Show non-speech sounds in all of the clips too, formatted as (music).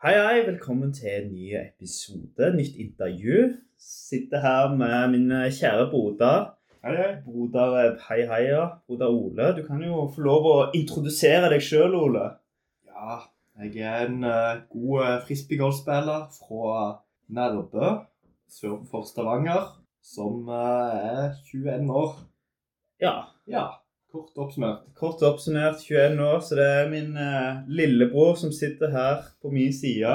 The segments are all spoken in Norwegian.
Hei, hei. Velkommen til en ny episode, nytt intervju. Sitter her med min kjære broder. Hei, hei. Broder eh, Hei Heia. Broder Ole. Du kan jo få lov å introdusere deg sjøl, Ole. Ja, jeg er en eh, god eh, frisbeegolfspiller fra Nærbø sør for Stavanger, som eh, er 21 år. Ja. Ja, kort oppsummert. Kort oppsummert 21 år, så det er min eh, lillebror som sitter her på min side.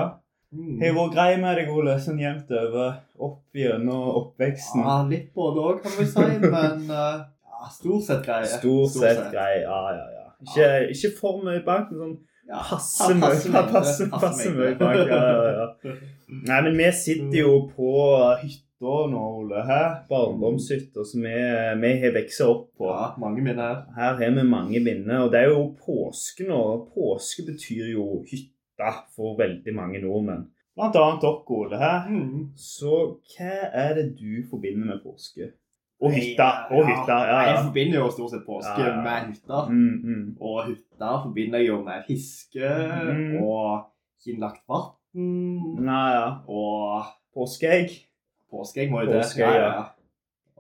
Mm. Har vært grei med deg, Ole, sånn jevnt over opp gjennom oppveksten. Ja, litt både òg, kan vi (laughs) si, men eh, ja, stort sett greie. Stort sett grei. Ja, ja, ja. Ikke, ikke for mye bank, men sånn Ja, Passe mye mengde, (laughs) passe, passe mengde. mye bak, ja, ja, ja. Nei, men vi sitter jo på hytta nå, Ole. Hæ? Barndomshytta som vi, vi har vokst opp på. (laughs) Ja, mange minner. Her har vi mange minner, og det er jo påske nå. Påske betyr jo hytta for veldig mange nordmenn. Blant annet dere, Ole. Hæ? Mm. Så hva er det du forbinder med påske? Og hytta. Og hytta, ja. Jeg ja. forbinder jo stort sett påske Ja, ja. med hytta. Mm, mm. Og hytta forbinder jeg jo med fiske Mhm. og innlagt vann. Nei, ja. Og Påskeegg. påskeegg må jo det. Påskeegg, ja.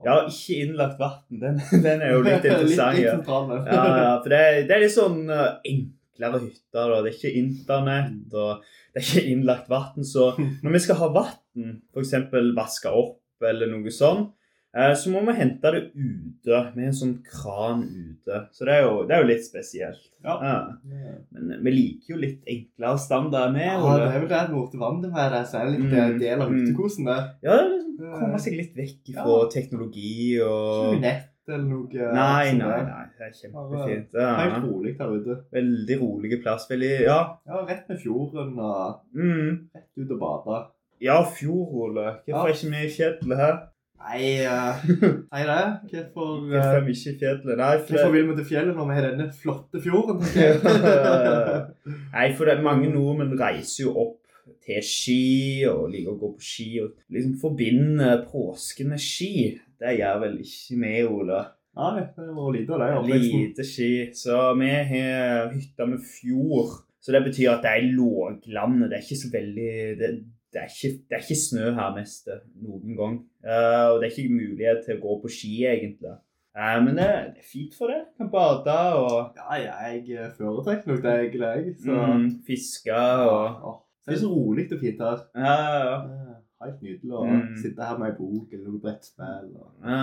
Ja, ikke innlagt vann. Den, (laughs) den er jo litt interessant. (laughs) litt ja. sentral, men. Ja, ja, for det, er- det er litt sånn eh, enklere hytter. da. Det er ikke internett, og det er ikke innlagt vann. Så når vi skal ha vann, f.eks. vaske opp eller noe sånt, eh, så må vi hente det ute med en sånn kran ute. Så det er jo, det er jo litt spesielt. Ja. Ja. Men vi liker jo litt enklere standard med. Ja, det Ole. er vel det borte vannet med det, så er det litt Mhm. eh, del av Mhm. utekosen det. Ja, det er liksom komme seg litt vekk fra teknologi Ikke og nett eller noe. Nei, sånt nei, sånn der. nei. Det er kjempefint. Ja. Helt rolig der ute. Veldig rolige plass. Veldig Ja. Ja, rett med fjorden og Mm. rett ut og bade. Ja, fjord, Ole. Hvorfor Ja. er ikke vi i fjellet her? Nei, (laughs) eh, nei det. Hvorfor, eh, Hvorfor er vi ikke i fjellet? Nei, for, det, hvorfor vil vi til fjellet når vi har denne flotte (laughs) fjorden? tenker nei, for det, Mm. mange nordmenn reiser jo opp til ski og liker å gå på ski og liksom forbinder påske med ski. Det gjør vel ikke vi, Ole. Nei, det var lite av det. i oppveksten. Lite ski. Så vi har hytta med fjord. Så det betyr at det er låglandet. Det er ikke så veldig det, det, er ikke, det er ikke snø her mest eh, noen gang. Eh, og det er ikke mulighet til å gå på ski, egentlig. Eh, men det, det er fint for det. Kan bade og Ja, jeg eh, foretrekker nok det, egentlig. jeg, Så. mm, fiske og Åh, så er det er så rolig og fint her. Ja, ja, ja. Eh, Helt nydelig å Mm. sitte her med ei bok eller noe brettspill og ja.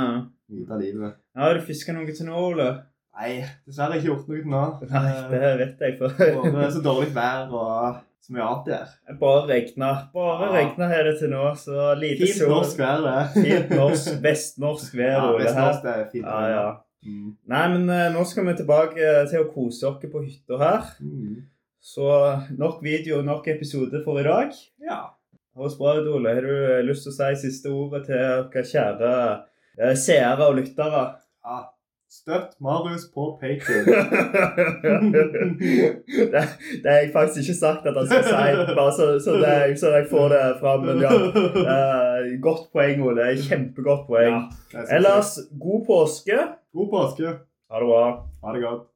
nyte av livet. Ja, Har du fiska noe til nå, Ole? Nei, dessverre har jeg ikke gjort noe til nå. (laughs) Nei, det vet jeg, for Eh, både (laughs) det er så dårlig vær og så mye annet der. bare regna. Bare Ja. regna har det til nå, så lite Fint norsk vær, det. Fint norsk, (laughs) vestnorsk vær, Ja, Ole. mest her. norsk det er fint. Ja, ja. Mm. Nei, men eh, nå skal vi tilbake eh, til å kose oss på hytta her. Mm. Så nok video og nok episode for i dag. ja. Høres bra ut, Ole. Har du eh, lyst til å si siste ordet til dere kjære eh, seere og lyttere? (laughs) ja. Støtt Marius på det, Patreon. det har jeg faktisk ikke sagt at han skal si, bare så, så, det, så jeg får det fram. Men (laughs) ja, (laughs) eh, godt poeng, Ole. Kjempegodt poeng. det er så Ellers, god påske. fint. God påske. Ha det bra. Ha det godt.